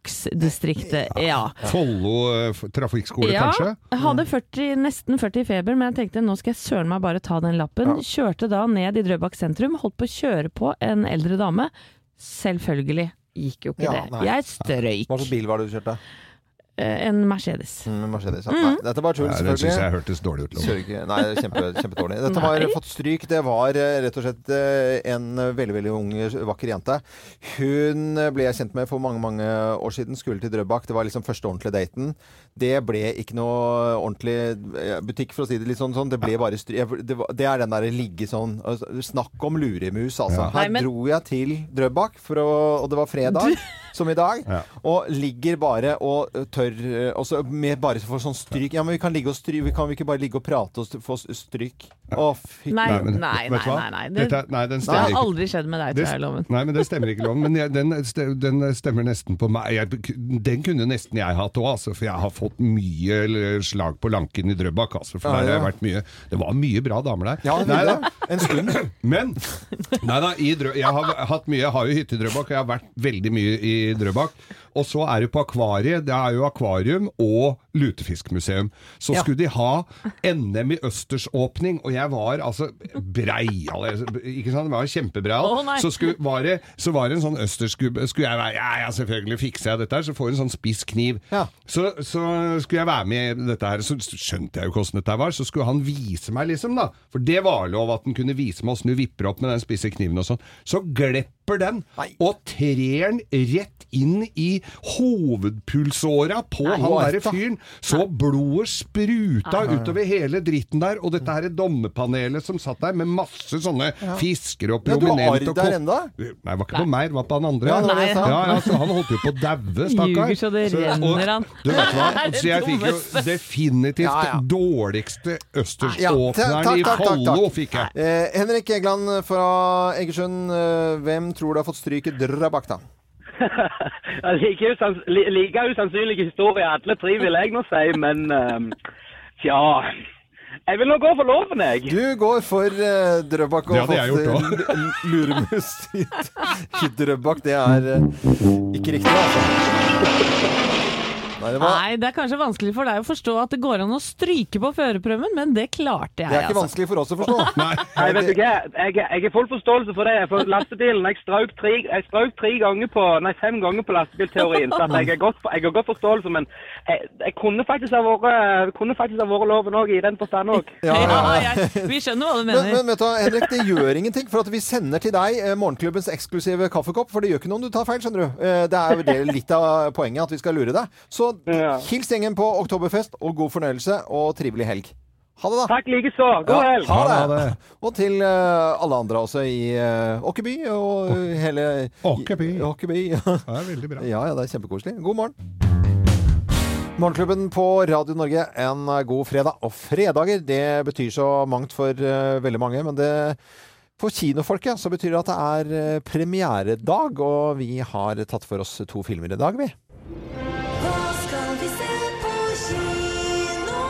Speaker 2: Drøbaksdistriktet. Ja.
Speaker 3: Follo eh, f- trafikkskole, kanskje?
Speaker 2: Jeg hadde 40, nesten 40 i feber, men jeg tenkte nå skal jeg søren meg bare ta den lappen. Kjørte da ned i Drøbak sentrum, holdt på å kjøre på en eldre dame. Selvfølgelig gikk jo ikke
Speaker 1: Ja,
Speaker 2: det.
Speaker 1: nei.
Speaker 2: Jeg strøyk.
Speaker 1: Hva slags bil var det du kjørte?
Speaker 2: Eh, En Mercedes.
Speaker 1: Mm, Mercedes. ja. Nei, dette var tull,
Speaker 3: Nei, den syns jeg
Speaker 1: selvfølgelig.
Speaker 3: hørtes dårlig ut. Loven.
Speaker 1: Sørg, nei, kjempe, kjempedårlig. Dette var
Speaker 2: Nei.
Speaker 1: fått stryk. Det var eh, rett og slett eh, en veldig veldig ung, vakker jente. Hun eh, ble jeg kjent med for mange mange år siden. Skulle til Drøbak. Det var liksom første ordentlige daten. Det ble ikke noe ordentlig eh, butikk, for å si det litt sånn. sånn. Det ble bare stryk. Jeg- Det, var- det er den derre ligge sånn altså, Snakk om luremus, altså.
Speaker 3: Ja.
Speaker 1: Her
Speaker 2: Nei, men-
Speaker 1: dro jeg til Drøbak, for å, og det var fredag, som i dag.
Speaker 3: Ja.
Speaker 1: Og ligger bare og ø, tør ø, og så med bare for sånn stryk. Ja, men vi kan ligge og stryk, vi kan vi ikke bare ligge og prate og st- få s- stryk? Å, fy
Speaker 2: Nei,
Speaker 3: men-
Speaker 2: nei, nei.
Speaker 3: vet du hva?
Speaker 2: nei, nei. Det,
Speaker 3: Dette er- nei, den
Speaker 2: det
Speaker 3: stemmer
Speaker 2: har
Speaker 3: ikke.
Speaker 2: aldri skjedd med deg,
Speaker 3: Det-
Speaker 2: tror jeg, Loven.
Speaker 3: Nei, men det stemmer ikke, Loven. Men jeg, den, ste- den stemmer nesten på meg. Jeg, den kunne nesten jeg hatt òg, altså. For jeg har fått mye eller, slag på lanken i Drøbak, altså. For
Speaker 1: Ja,
Speaker 3: der har jeg
Speaker 1: ja.
Speaker 3: vært mye Det var mye bra damer der.
Speaker 1: Ja, det
Speaker 3: Nei
Speaker 1: ville
Speaker 3: da.
Speaker 1: det. En stund.
Speaker 3: Men nei da, i Drø jeg har hatt mye, jeg har jo hytte i Drøbak, og jeg har vært veldig mye i Drøbak. Og så er det på akvariet. Det er jo akvarium og lutefiskmuseum. Så
Speaker 1: Ja.
Speaker 3: skulle de ha NM i østersåpning, og jeg var altså breial. jeg- Ikke sant? Jeg var kjempebreial.
Speaker 2: Å, nei.
Speaker 3: så, skulle, var det, så var det en sånn østersgubbe Skulle jeg være Ja, ja, selvfølgelig fikser jeg dette her. Så får du en sånn spiss kniv.
Speaker 1: Ja.
Speaker 3: Så, så skulle jeg være med i dette her, så skjønte jeg jo ikke åssen dette her var. Så skulle han vise meg, liksom, da. For det var lov at han kunne vise meg åssen du vipper opp med den spisse kniven og sånn. Så glepper den,
Speaker 1: Nei.
Speaker 3: og trer den rett inn i hovedpulsåra på han
Speaker 1: what
Speaker 3: derre
Speaker 1: the-
Speaker 3: fyren. Så blodet spruta utover hele dritten der, og dette her dommerpanelet som satt der med masse sånne fiskere og
Speaker 1: Ja, du har
Speaker 3: prominente
Speaker 1: arr
Speaker 3: og
Speaker 1: der
Speaker 3: ko-
Speaker 1: enda?
Speaker 3: Nei, det var ikke på meg, det var på han andre.
Speaker 1: Ja, det var det jeg sa.
Speaker 3: ja, ja, så han holdt jo på å daue, stakkar.
Speaker 2: Ljuger så det renner han.
Speaker 3: Du vet hva?
Speaker 2: Det er det
Speaker 3: Så jeg fikk jo
Speaker 2: dummeste.
Speaker 3: definitivt
Speaker 1: Ja, ja.
Speaker 3: dårligste
Speaker 1: Ja,
Speaker 3: østersåpneren
Speaker 1: takk,
Speaker 3: i
Speaker 1: takk, takk,
Speaker 3: Follo
Speaker 1: takk.
Speaker 3: fikk jeg.
Speaker 1: Eh, Henrik Egeland fra Egersund, eh, hvem tror du har fått stryk i Drøbak, da?
Speaker 10: like, usans li- like usannsynlig historie alle tre, vil jeg nå si, men ehm, tja Jeg vil nå gå for loven, jeg.
Speaker 1: Du går for eh, Drøbak og
Speaker 3: Det hadde jeg gjort
Speaker 1: fått, eh, l- luremus i, i Drøbak. Det er eh, ikke riktig, altså. Nei, det var
Speaker 2: Nei, det er kanskje vanskelig for deg å forstå at det går an å stryke på førerprøven, men det klarte jeg,
Speaker 1: Det er ikke
Speaker 2: altså.
Speaker 1: vanskelig for oss å forstå.
Speaker 3: Nei.
Speaker 10: Nei, vet du hva? Jeg, jeg har full forståelse for det. For lastebilen Jeg strøk tre, jeg strøk tre ganger på Nei, fem ganger på lastebilteorien. Så at jeg, har godt, jeg har godt forståelse, men jeg, jeg kunne faktisk ha vært kunne faktisk ha vært loven òg, i den forstand òg.
Speaker 2: Ja,
Speaker 1: Ja, ja, ja.
Speaker 2: jeg, vi skjønner hva du
Speaker 1: Men,
Speaker 2: mener.
Speaker 1: men vet du, hva, Henrik, det gjør ingenting, for at vi sender til deg eh, morgenklubbens eksklusive kaffekopp. For det gjør ikke noe om du tar feil, skjønner du. Eh, det er jo det litt av poenget, at vi skal lure deg. Så
Speaker 10: Ja.
Speaker 1: hils gjengen på Oktoberfest, og god fornøyelse og trivelig helg. Ha det, da.
Speaker 10: Takk likeså. God
Speaker 1: Ja,
Speaker 10: helg.
Speaker 1: ha det.
Speaker 3: Ha det.
Speaker 1: Og til eh, alle andre også i eh, Åkeby og eh, hele
Speaker 3: Åkeby.
Speaker 1: i- Åkeby.
Speaker 3: Det er veldig bra.
Speaker 1: ja, ja, det er kjempekoselig. God morgen. Morgenklubben på Radio Norge, en eh, god fredag. Og fredager, det betyr så mangt for eh, veldig mange, men det for kinofolket så betyr det at det er eh, premieredag, og vi har tatt for oss to filmer i dag, vi.
Speaker 7: Hva skal vi se på kino?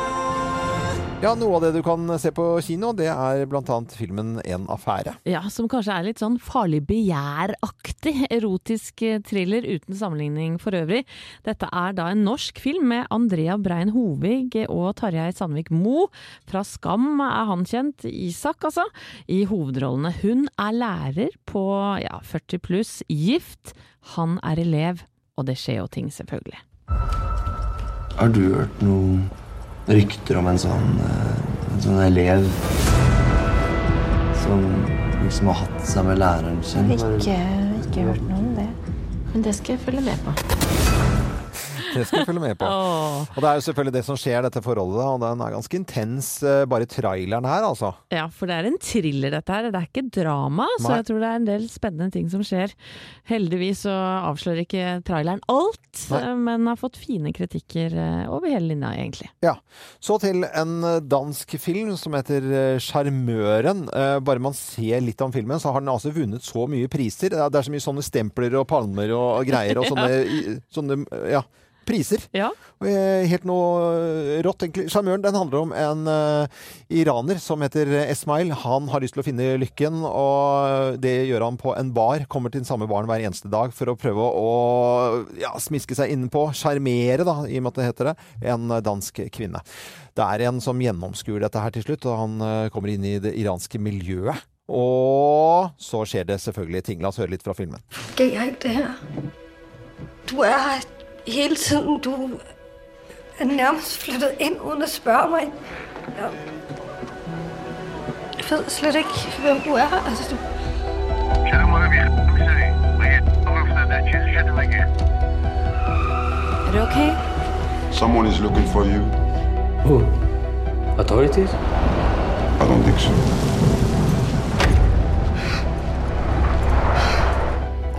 Speaker 1: Ja, noe av det du kan se på kino, det er blant annet filmen En affære.
Speaker 2: Ja, som kanskje er litt sånn farlig begjæraktig erotisk eh, thriller uten sammenligning for øvrig. Dette er da en norsk film med Andrea Brein Hovig og Tarjei Sandvik Mo. Fra Skam er han kjent, Isak altså, i hovedrollene. Hun er lærer på ja, 40 pluss, gift. Han er elev, og det skjer jo ting selvfølgelig.
Speaker 7: Har du hørt noen rykter om en sånn, eh, en sånn elev som liksom har hatt seg med læreren sin?
Speaker 6: Ikke,
Speaker 12: ikke hørt noe om det. Men det skal jeg følge med på.
Speaker 1: Det skal jeg følge med på. Og det er jo selvfølgelig det som skjer, dette forholdet. da, Og den er ganske intens, eh, bare traileren her, altså.
Speaker 2: Ja, for det er en thriller dette her. Det er ikke drama, så
Speaker 1: Nei.
Speaker 2: jeg tror det er en del spennende ting som skjer. Heldigvis så avslører ikke traileren alt, eh,
Speaker 1: Nei.
Speaker 2: men har fått fine kritikker eh, over hele linja, egentlig.
Speaker 1: Ja. Så til en eh, dansk film som heter eh, 'Sjarmøren'. Eh, Bare man ser litt om filmen, så har den altså vunnet så mye priser. Det er- Det er så mye sånne stempler og palmer og og greier og sånne, i- sånne eh, ja, priser. Og, eh, Helt noe eh, rått, egentlig. 'Sjarmøren' den handler om en eh, iraner som heter Esmail. Han har lyst til å finne lykken, og det gjør han på en bar. Kommer til den samme baren hver eneste dag for å prøve å ja, smiske seg innenpå. Sjarmere, da, i og med at det heter det. En dansk kvinne. Det er en som gjennomskuer dette her til slutt, og han eh, kommer inn i det iranske miljøet. Og så skjer det selvfølgelig ting. La oss høre litt fra filmen.
Speaker 13: Gøy er ikke det her. Du er her hele tiden. Du er nærmest flyttet ind, uden at spørge mig. Jeg ved slet ikke, hvem du er. Altså, du... Er det okay?
Speaker 14: Someone is looking for you. Who? Authorities? I don't think so.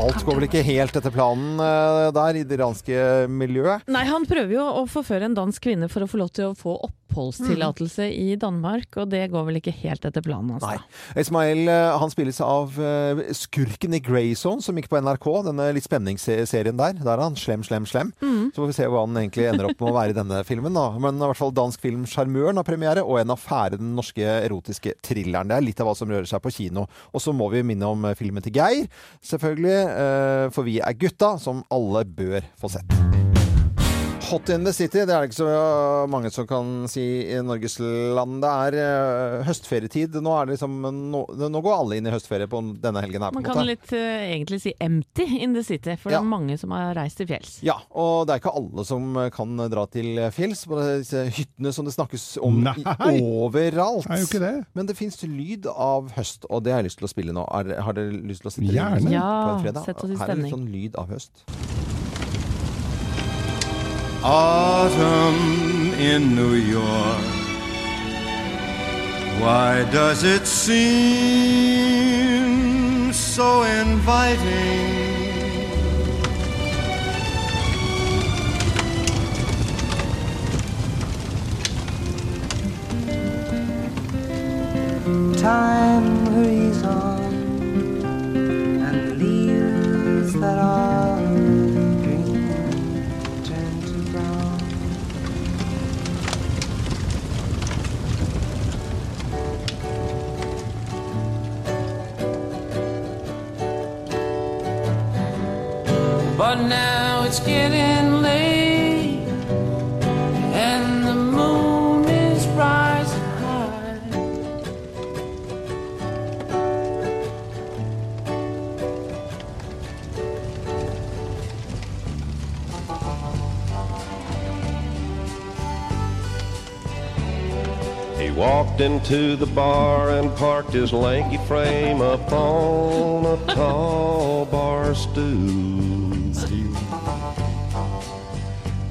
Speaker 1: Alt går vel ikke helt etter planen eh, der i det iranske miljøet.
Speaker 2: Nei, han prøver jo å forføre en dansk kvinne for å få lov til å få oppholdstillatelse i Danmark, og det går vel ikke helt etter planen altså. hans, da.
Speaker 1: Ismail eh, han spilles av eh, skurken i Grey Zone, som gikk på NRK. Denne litt spenningsserien der. Der er han slem, slem, slem.
Speaker 2: Mm.
Speaker 1: Så får vi se hva han egentlig ender opp med å være i denne filmen. da. Men i hvert fall dansk film 'Sjarmøren' har premiere, og en affære, den norske erotiske thrilleren. Det er litt av hva som rører seg på kino. Og så må vi minne om eh, filmen til Geir, selvfølgelig. eh, For vi er gutta, som alle bør få sett. Hot in the City, det er det ikke så øh, mange som kan si i Norges land. Det er eh, høstferietid. Nå, er det liksom, nå, nå går alle inn i høstferie på denne helgen her. på en
Speaker 2: Man
Speaker 1: måte.
Speaker 2: kan litt eh, egentlig si empty in the city, for det er mange som har reist til fjells.
Speaker 1: Ja, og det er ikke alle som eh, kan dra til fjells på disse hyttene som det snakkes om i-
Speaker 3: Nei.
Speaker 1: overalt.
Speaker 3: Det er jo ikke det.
Speaker 1: Men det fins lyd av høst, og det har jeg lyst til å spille nå. Er, har dere lyst til å sitte
Speaker 3: Gjerne.
Speaker 1: litt på
Speaker 3: Ja,
Speaker 1: en fredag?
Speaker 3: sett oss i
Speaker 1: Her er litt
Speaker 3: stemning.
Speaker 1: sånn lyd av høst.
Speaker 15: Autumn in New York. Why does it seem so inviting?
Speaker 16: Time hurries on, and the leaves that are green turn to brown.
Speaker 7: But now it's getting late, and the moon is rising high.
Speaker 17: He walked into the bar and parked his lanky frame up on a tall bar stool.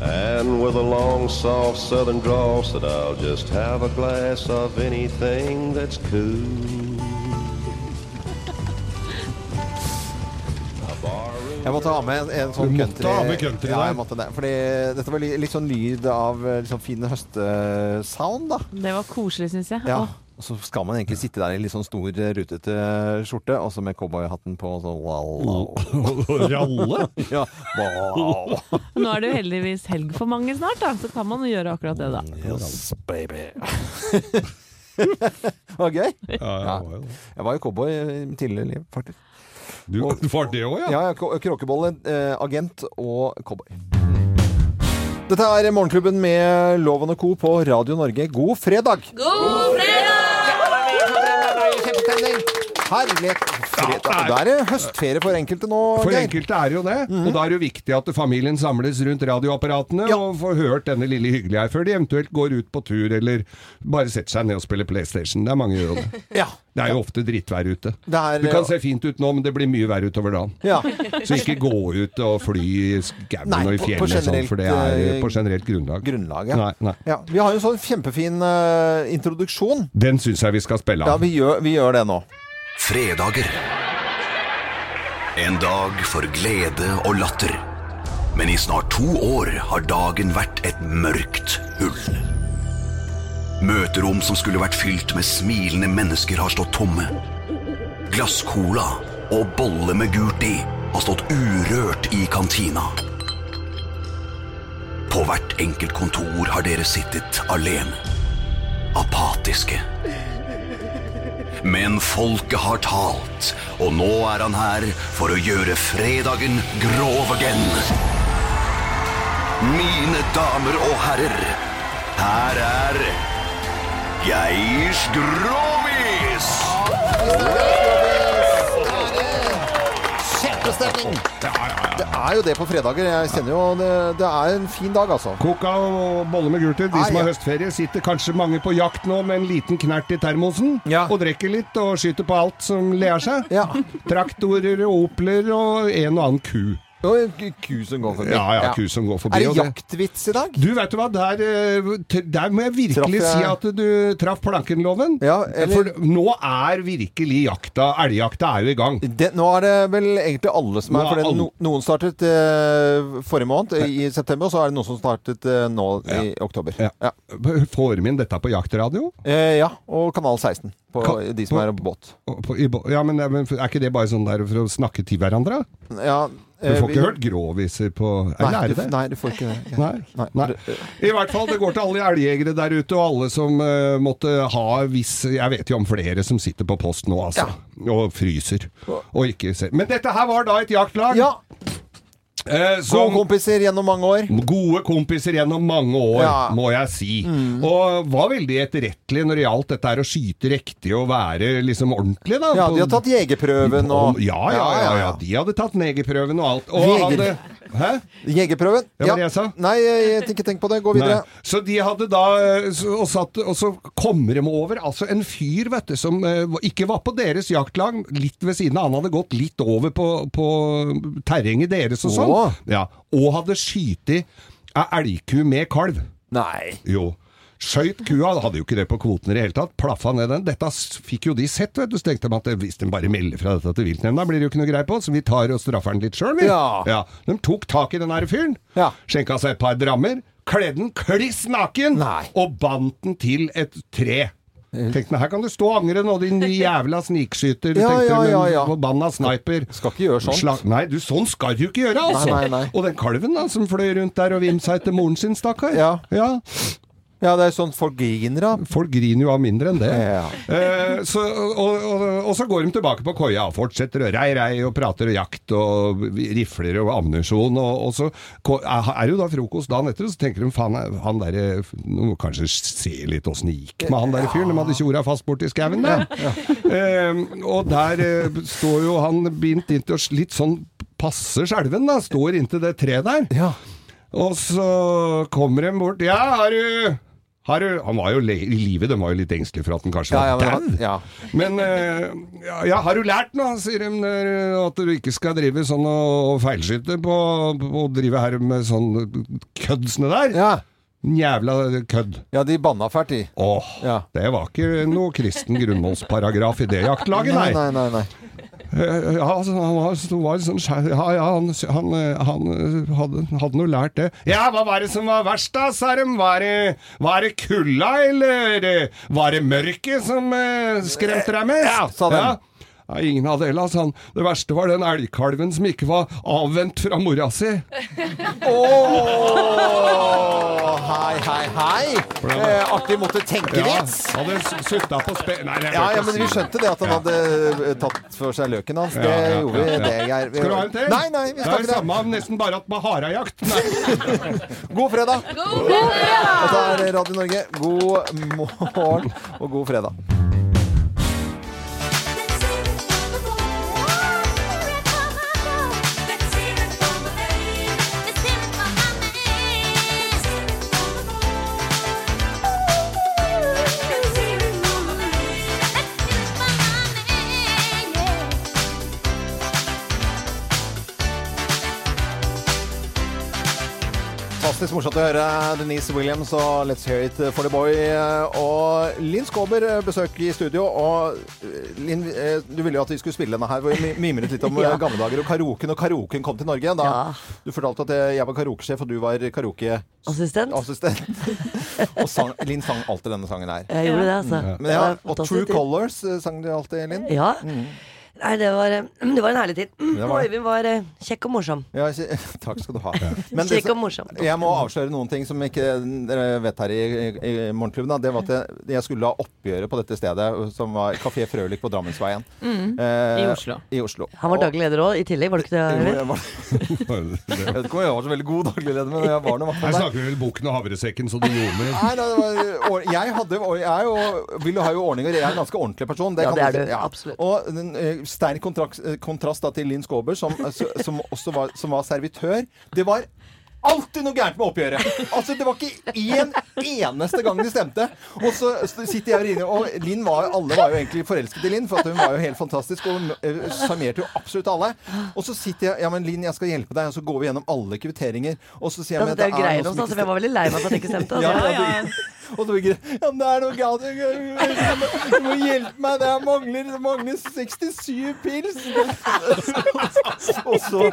Speaker 17: And with a long, soft southern drawl, said, I'll just have a glass of anything that's cool.
Speaker 1: Jeg måtte ha med en, en sånn
Speaker 3: Du måtte
Speaker 1: country.
Speaker 3: ha med country
Speaker 1: ja,
Speaker 3: der.
Speaker 1: jeg måtte det. Fordi dette var li- litt sånn lyd av eh, liksom, fin høstsound, da.
Speaker 2: Det var koselig, syns jeg.
Speaker 1: Ja.
Speaker 2: Åh,
Speaker 1: Og så skal man egentlig sitte der i litt sånn stor, eh, rutete skjorte, og så med cowboyhatten på, og så wow.
Speaker 3: Ralle?
Speaker 1: ja. Wow.
Speaker 2: Nå er det jo heldigvis helg for mange snart, da, så kan man jo gjøre akkurat
Speaker 1: Mm,
Speaker 2: det, da.
Speaker 1: Yes, baby. var det gøy? Ja. Jeg var jo cowboy eh, i mitt tidligere liv, faktisk.
Speaker 3: Du var det òg, ja?
Speaker 1: Ja, ja krå- Kråkebolle, eh, agent og cowboy. Mm. Dette er Morgenklubben med Loven og Co. på Radio Norge. God fredag!
Speaker 7: God fredag!
Speaker 1: Herlighet. Fred-
Speaker 3: Ja,
Speaker 1: Da er det høstferie for enkelte nå,
Speaker 3: For
Speaker 1: Geir.
Speaker 3: enkelte er jo det, Mhm. og da er det jo viktig at familien samles rundt radioapparatene og får hørt denne lille hyggelige her før de eventuelt går ut på tur eller bare setter seg ned og spiller PlayStation. Det er mange som gjør jo det. Det er jo ofte drittvær ute.
Speaker 1: er- eh,
Speaker 3: du kan se fint ut nå, men det blir mye vær utover dagen.
Speaker 1: Ja.
Speaker 3: Så ikke gå ut og fly i skauen
Speaker 1: Nei,
Speaker 3: og i
Speaker 1: på- på
Speaker 3: fjellene, og sånn,
Speaker 1: generelt,
Speaker 3: for det er
Speaker 1: eh,
Speaker 3: på generelt grunnlag.
Speaker 1: ja.
Speaker 3: Nei, nei.
Speaker 1: Ja, vi har jo en sånn kjempefin eh, introduksjon.
Speaker 3: Den syns jeg vi skal spille
Speaker 1: Ja,
Speaker 3: av.
Speaker 1: vi gjør, vi gjør det nå.
Speaker 11: Fredager. En dag for glede og latter. Men i snart to år har dagen vært et mørkt hull. Møterom som skulle vært fylt med smilende mennesker, har stått tomme. Glasscola og bolle med gult i har stått urørt i kantina. På hvert enkelt kontor har dere sittet alene. Apatiske. Men folket har talt, og nå er han her for å gjøre fredagen grov again. Mine damer og herrer, her er Geirs Grovis!
Speaker 1: Kjempestemning! Det er jo det på fredager. Jeg kjenner jo det, det er en fin dag, altså.
Speaker 3: Koka og bolle med gult i. De
Speaker 1: Ah,
Speaker 3: som har
Speaker 1: ja.
Speaker 3: høstferie, sitter kanskje mange på jakt nå med en liten knert i termosen. Og drikker litt og skyter på alt som ler seg. Traktorer og Opler og en og annen ku.
Speaker 1: Og ku som går forbi.
Speaker 3: Ja, ja, ku som går forbi.
Speaker 1: Er
Speaker 3: og
Speaker 1: det jaktvits i dag?
Speaker 3: Du, vet du hva, der, eh, t- der må jeg
Speaker 1: Traff
Speaker 3: virkelig
Speaker 1: jeg-
Speaker 3: si at du traff plankenloven.
Speaker 1: eller-
Speaker 3: For nå er virkelig jakta, elgjakta er jo i gang.
Speaker 1: Det, nå er det vel egentlig alle som
Speaker 3: Nå
Speaker 1: er
Speaker 3: er
Speaker 1: for det,
Speaker 3: alle-
Speaker 1: no, Noen startet eh, forrige måned, eh, i september, og så er det noen som startet eh, nå i oktober. Ja.
Speaker 3: Får vi inn dette på jaktradio?
Speaker 1: Eh, ja, og Kanal 16, på
Speaker 3: Ka-
Speaker 1: de som
Speaker 3: på-
Speaker 1: er på båt.
Speaker 3: Og På, i, bo- ja, men, men er ikke det bare sånn der for å snakke til hverandre?
Speaker 1: Ja,
Speaker 3: Du
Speaker 1: eh,
Speaker 3: får
Speaker 1: vi-
Speaker 3: ikke hørt gråviser på
Speaker 1: Nei,
Speaker 3: Eller er
Speaker 1: du,
Speaker 3: det det?
Speaker 1: nei, du får ikke det.
Speaker 3: Nei. I hvert fall, det går til alle elgjegere der ute, og alle som eh, måtte ha hvis Jeg vet jo om flere som sitter på post nå, altså. Og fryser. Og ikke ser. Men dette her var da et jaktlag. Eh, som,
Speaker 1: Gode kompiser gjennom mange år.
Speaker 3: Gode kompiser gjennom mange år,
Speaker 1: Ja. Mm.
Speaker 3: må jeg si. Og var veldig etterrettelig når det gjaldt dette her å skyte riktig og være liksom ordentlig, da.
Speaker 1: Ja,
Speaker 3: på-
Speaker 1: de har tatt jegerprøven og
Speaker 3: Ja, ja, ja, ja, ja. De hadde tatt negerprøven og alt. Og
Speaker 1: Jeger-
Speaker 3: hadde, hæ?
Speaker 1: Jegerprøven?
Speaker 3: Det var det jeg sa.
Speaker 1: Nei, jeg, jeg, ikke tenk på det. Gå videre.
Speaker 3: Nei. Så de hadde da eh, så- og, satt, og så kommer de over altså en fyr vet du, som eh, ikke var på deres jaktlag, litt ved siden av. Han hadde gått litt over på, på terrenget deres og sånn.
Speaker 1: Åh.
Speaker 3: Ja. Og hadde skutt ei elgku med kalv.
Speaker 1: Nei.
Speaker 3: Jo. Skjøt kua, hadde jo ikke det på kvoten i det hele tatt, plaffa ned den. Dette s- fikk jo de sett, vet du. Så tenkte de at eh, hvis de bare melder fra dette til viltnemnda, blir det jo ikke noe greie på, så vi tar og straffer den litt sjøl, vi.
Speaker 1: Ja.
Speaker 3: De tok tak i den her fyren, skjenka seg et par drammer, kledde den kliss naken og bandt den til et tre. Tenkte den, her kan du stå og angre nå, din jævla snikskyter,
Speaker 1: Ja,
Speaker 3: tenkte
Speaker 1: ja,
Speaker 3: de,
Speaker 1: ja,
Speaker 3: men
Speaker 1: ja.
Speaker 3: forbanna sniper.
Speaker 1: Skal ikke gjøre sånt.
Speaker 3: Slag- nei, du, sånn skal du ikke gjøre, altså!
Speaker 1: Nei, nei, nei.
Speaker 3: Og den kalven da, som fløy rundt der og vimsa etter moren sin, stakkar.
Speaker 1: Ja.
Speaker 3: ja.
Speaker 1: Ja, det er sånn folk griner av.
Speaker 3: Folk griner jo av mindre enn det.
Speaker 1: Ja.
Speaker 3: Eh, så, og, og, og så går de tilbake på koia og fortsetter å rei, rei og prater og jakt og rifler og ammunisjon. Og, og så ko- er er det jo da frokost dagen etter, og så tenker de faen, han derre Nå må vi kanskje se litt åssen det gikk med han derre fyren. De hadde tjora fast borti skauen, det. Eh, og der eh, står jo han bindt inntil og s- litt sånn passe skjelven, da. Står inntil det treet der. Og så kommer de bort Ja, har du har du, han var jo le i livet, de var jo litt engstelige for at han kanskje
Speaker 1: Ja, ja,
Speaker 3: var
Speaker 1: men han-
Speaker 3: dau. Men eh, ja, ja, har du lært noe, sier de, der, eh, at du ikke skal drive sånn og, og feilskyte på å drive her med sånn køddsene der?
Speaker 1: Ja.
Speaker 3: Jævla kødd.
Speaker 1: Ja, de banna fælt, de.
Speaker 3: Åh, det var ikke noe kristen grunnmålsparagraf i det jaktlaget, nei.
Speaker 1: Nei, nei, nei.
Speaker 3: Eh, Ja, altså, han var, så var det sånn skjær- Ja, ja, han, han, eh, han eh, hadde, hadde noe lært det. Ja, hva var det som var verst da, sa de? Var det, var det kulda, eller eh, var det mørket som eh, skremte deg mest? Ja,
Speaker 1: sa de.
Speaker 3: Nei, ingen av delene, sa han. Det verste var den elgkalven som ikke var avvent fra mora si.
Speaker 1: Åh, hei, hei, hei! Eh, artig måtte tenke
Speaker 3: Ja,
Speaker 1: vits.
Speaker 3: hadde s- sutta på spe... Nei, jeg bør ikke
Speaker 1: Ja, ja, men
Speaker 3: si
Speaker 1: vi
Speaker 3: det.
Speaker 1: skjønte det at han hadde eh, tatt for seg løken hans. Det
Speaker 3: Ja, ja,
Speaker 1: gjorde vi.
Speaker 3: ja, ja.
Speaker 1: Det, Geir.
Speaker 3: Skal du ha en til?
Speaker 1: Nei, nei,
Speaker 3: det er
Speaker 1: vi skal
Speaker 3: det
Speaker 1: ikke det.
Speaker 3: samme, nesten bare at med harejakt.
Speaker 1: God fredag!
Speaker 4: God fredag!
Speaker 1: Dette er Radio Norge. God morgen og god fredag. Fantastisk morsomt å høre Denise Williams og Let's Hear It for the Boy. Og Linn Skåber eh, besøk i studio. Og Linn, eh, du ville jo at vi skulle spille denne her. hvor Vi mi- mimret litt om
Speaker 5: Ja.
Speaker 1: eh, gamle dager og karaoken. Og karaoken kom til Norge. Da Du fortalte at eh, jeg var karaokesjef, og du var karaokeassistent. og sang, Linn sang alltid denne sangen her.
Speaker 18: Jeg gjorde det, altså.
Speaker 1: Mm. Men
Speaker 18: Det
Speaker 1: ja,
Speaker 18: var
Speaker 1: og
Speaker 18: fantastisk
Speaker 1: True
Speaker 18: tid.
Speaker 1: Colors eh, sang du alltid, Linn.
Speaker 18: Ja.
Speaker 1: Mm.
Speaker 18: Nei, det var, eh, det var en herlig tid.
Speaker 1: Det var
Speaker 18: Og
Speaker 1: det.
Speaker 18: Øyvind var eh, kjekk og morsom.
Speaker 1: Ja, kje- takk skal du ha. Men det
Speaker 18: Kjekk
Speaker 1: som-
Speaker 18: og morsom.
Speaker 1: Jeg må avsløre noen ting som ikke dere vet her i, i, i Morgenklubben. da. Det var at jeg, jeg skulle ha oppgjøret på dette stedet, som var Kafé Frølik på Drammensveien. Eh,
Speaker 18: Mm. I Oslo.
Speaker 1: I Oslo.
Speaker 18: Han var daglig leder òg, i tillegg, var det ikke det?
Speaker 1: Jo,
Speaker 18: Øyvind?
Speaker 1: jeg, var, jeg vet ikke om jeg var så veldig god daglig leder, men jeg var nå i hvert
Speaker 3: Her
Speaker 1: fall der.
Speaker 3: snakker vi vel bukken og havresekken så det ljomer.
Speaker 1: Nei, nei, det var, or- jeg hadde, og jeg er jo, vil jo ha jo ordninger. Jeg er en ganske ordentlig person.
Speaker 18: Ja,
Speaker 1: kan
Speaker 18: det er
Speaker 1: si.
Speaker 18: du, absolutt.
Speaker 1: Og den, eh, sterk kontrast, eh, kontrast da, til Linn Skåber, som, eh, s- som også var, som var servitør. Det var alltid noe gærent med oppgjøret! Altså, Det var ikke én eneste gang det stemte. Og så så sitter jeg og ringer, og Linn var, alle var jo egentlig forelsket i Linn, for at hun var jo helt fantastisk og eh, sjarmerte jo absolutt alle. Og så sitter jeg ja, men Linn, jeg skal hjelpe deg, og så går vi gjennom alle kvitteringer. Og så sier jeg
Speaker 18: Altså,
Speaker 1: men
Speaker 18: det er jo
Speaker 1: noe
Speaker 18: greier
Speaker 1: som
Speaker 18: oss,
Speaker 1: ikke
Speaker 18: altså. men Jeg var veldig lei meg for at det ikke stemte.
Speaker 1: Ja,
Speaker 18: Altså.
Speaker 1: ja, og så blir det Ja, men det er noe galt. Jeg- jeg- jeg- Du må hjelpe meg. Det er mangler, det mangler 67 pils. og så,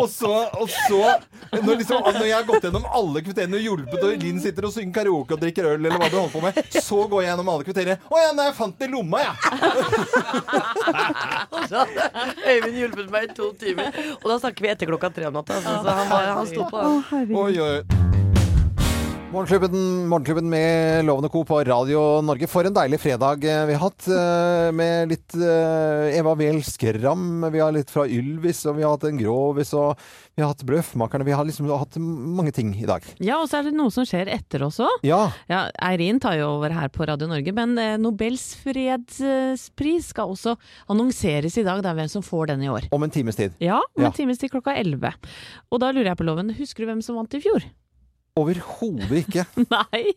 Speaker 1: og så, og så når, liksom, når jeg har gått gjennom alle kvitteriene og hjulpet, og Linn sitter og synger karaoke og drikker øl, eller hva du holder på med, så går jeg gjennom alle kvitteriene. Å ja, nei, jeg fant det i lomma, jeg.
Speaker 18: Så hadde Øyvind hjulpet meg i to timer. Og da snakker vi etter klokka tre om natta. Altså, så han, var- han sto på.
Speaker 1: Oi, oi. Morgenklubben, morgenklubben med Lovende Co. på Radio Norge. For en deilig fredag eh, vi har hatt. eh, Med litt eh, Eva Wehl Skram, vi har litt fra Ylvis, og vi har hatt en Grovis, og vi har hatt Bløffmakerne. Vi har liksom hatt mange ting i dag.
Speaker 2: Ja, og så er det noe som skjer etter også.
Speaker 1: Ja.
Speaker 2: Ja, Eirin tar jo over her på Radio Norge, men eh, Nobels fredspris skal også annonseres i dag. Det er hvem som får den i år.
Speaker 1: Om en times tid.
Speaker 2: Ja, om
Speaker 1: Ja.
Speaker 2: en times tid klokka 11. Og da lurer jeg på loven, husker du hvem som vant i fjor?
Speaker 1: Overhodet ikke.
Speaker 2: Nei,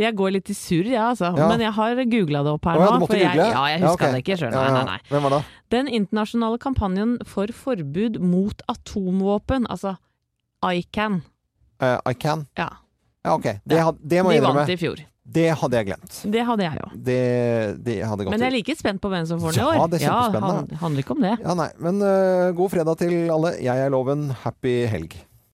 Speaker 2: jeg går litt i surr jeg altså,
Speaker 1: Ja.
Speaker 2: men jeg har googla det opp her
Speaker 1: Å ja,
Speaker 2: nå.
Speaker 1: du måtte
Speaker 2: for jeg,
Speaker 1: google?
Speaker 2: ja, jeg huska
Speaker 1: ok.
Speaker 2: det ikke sjøl,
Speaker 1: Ja,
Speaker 2: nei,
Speaker 1: ja.
Speaker 2: nei, nei.
Speaker 1: Hvem var det?
Speaker 2: Den internasjonale kampanjen for forbud mot atomvåpen, altså ICAN.
Speaker 1: Eh, I Can?
Speaker 2: Ja.
Speaker 1: Ja, ok. Det, had, det må
Speaker 2: De
Speaker 1: jeg innrømme.
Speaker 2: vant i fjor.
Speaker 1: Det hadde jeg glemt.
Speaker 2: Det hadde jeg òg.
Speaker 1: Det, det hadde gått
Speaker 2: Men jeg er like spent på hvem som får den i år.
Speaker 1: Ja, det er kjempespennende.
Speaker 2: han- handler ikke om det.
Speaker 1: eh, Ja, nei, men øh, god fredag til alle. Jeg er Loven. Happy helg.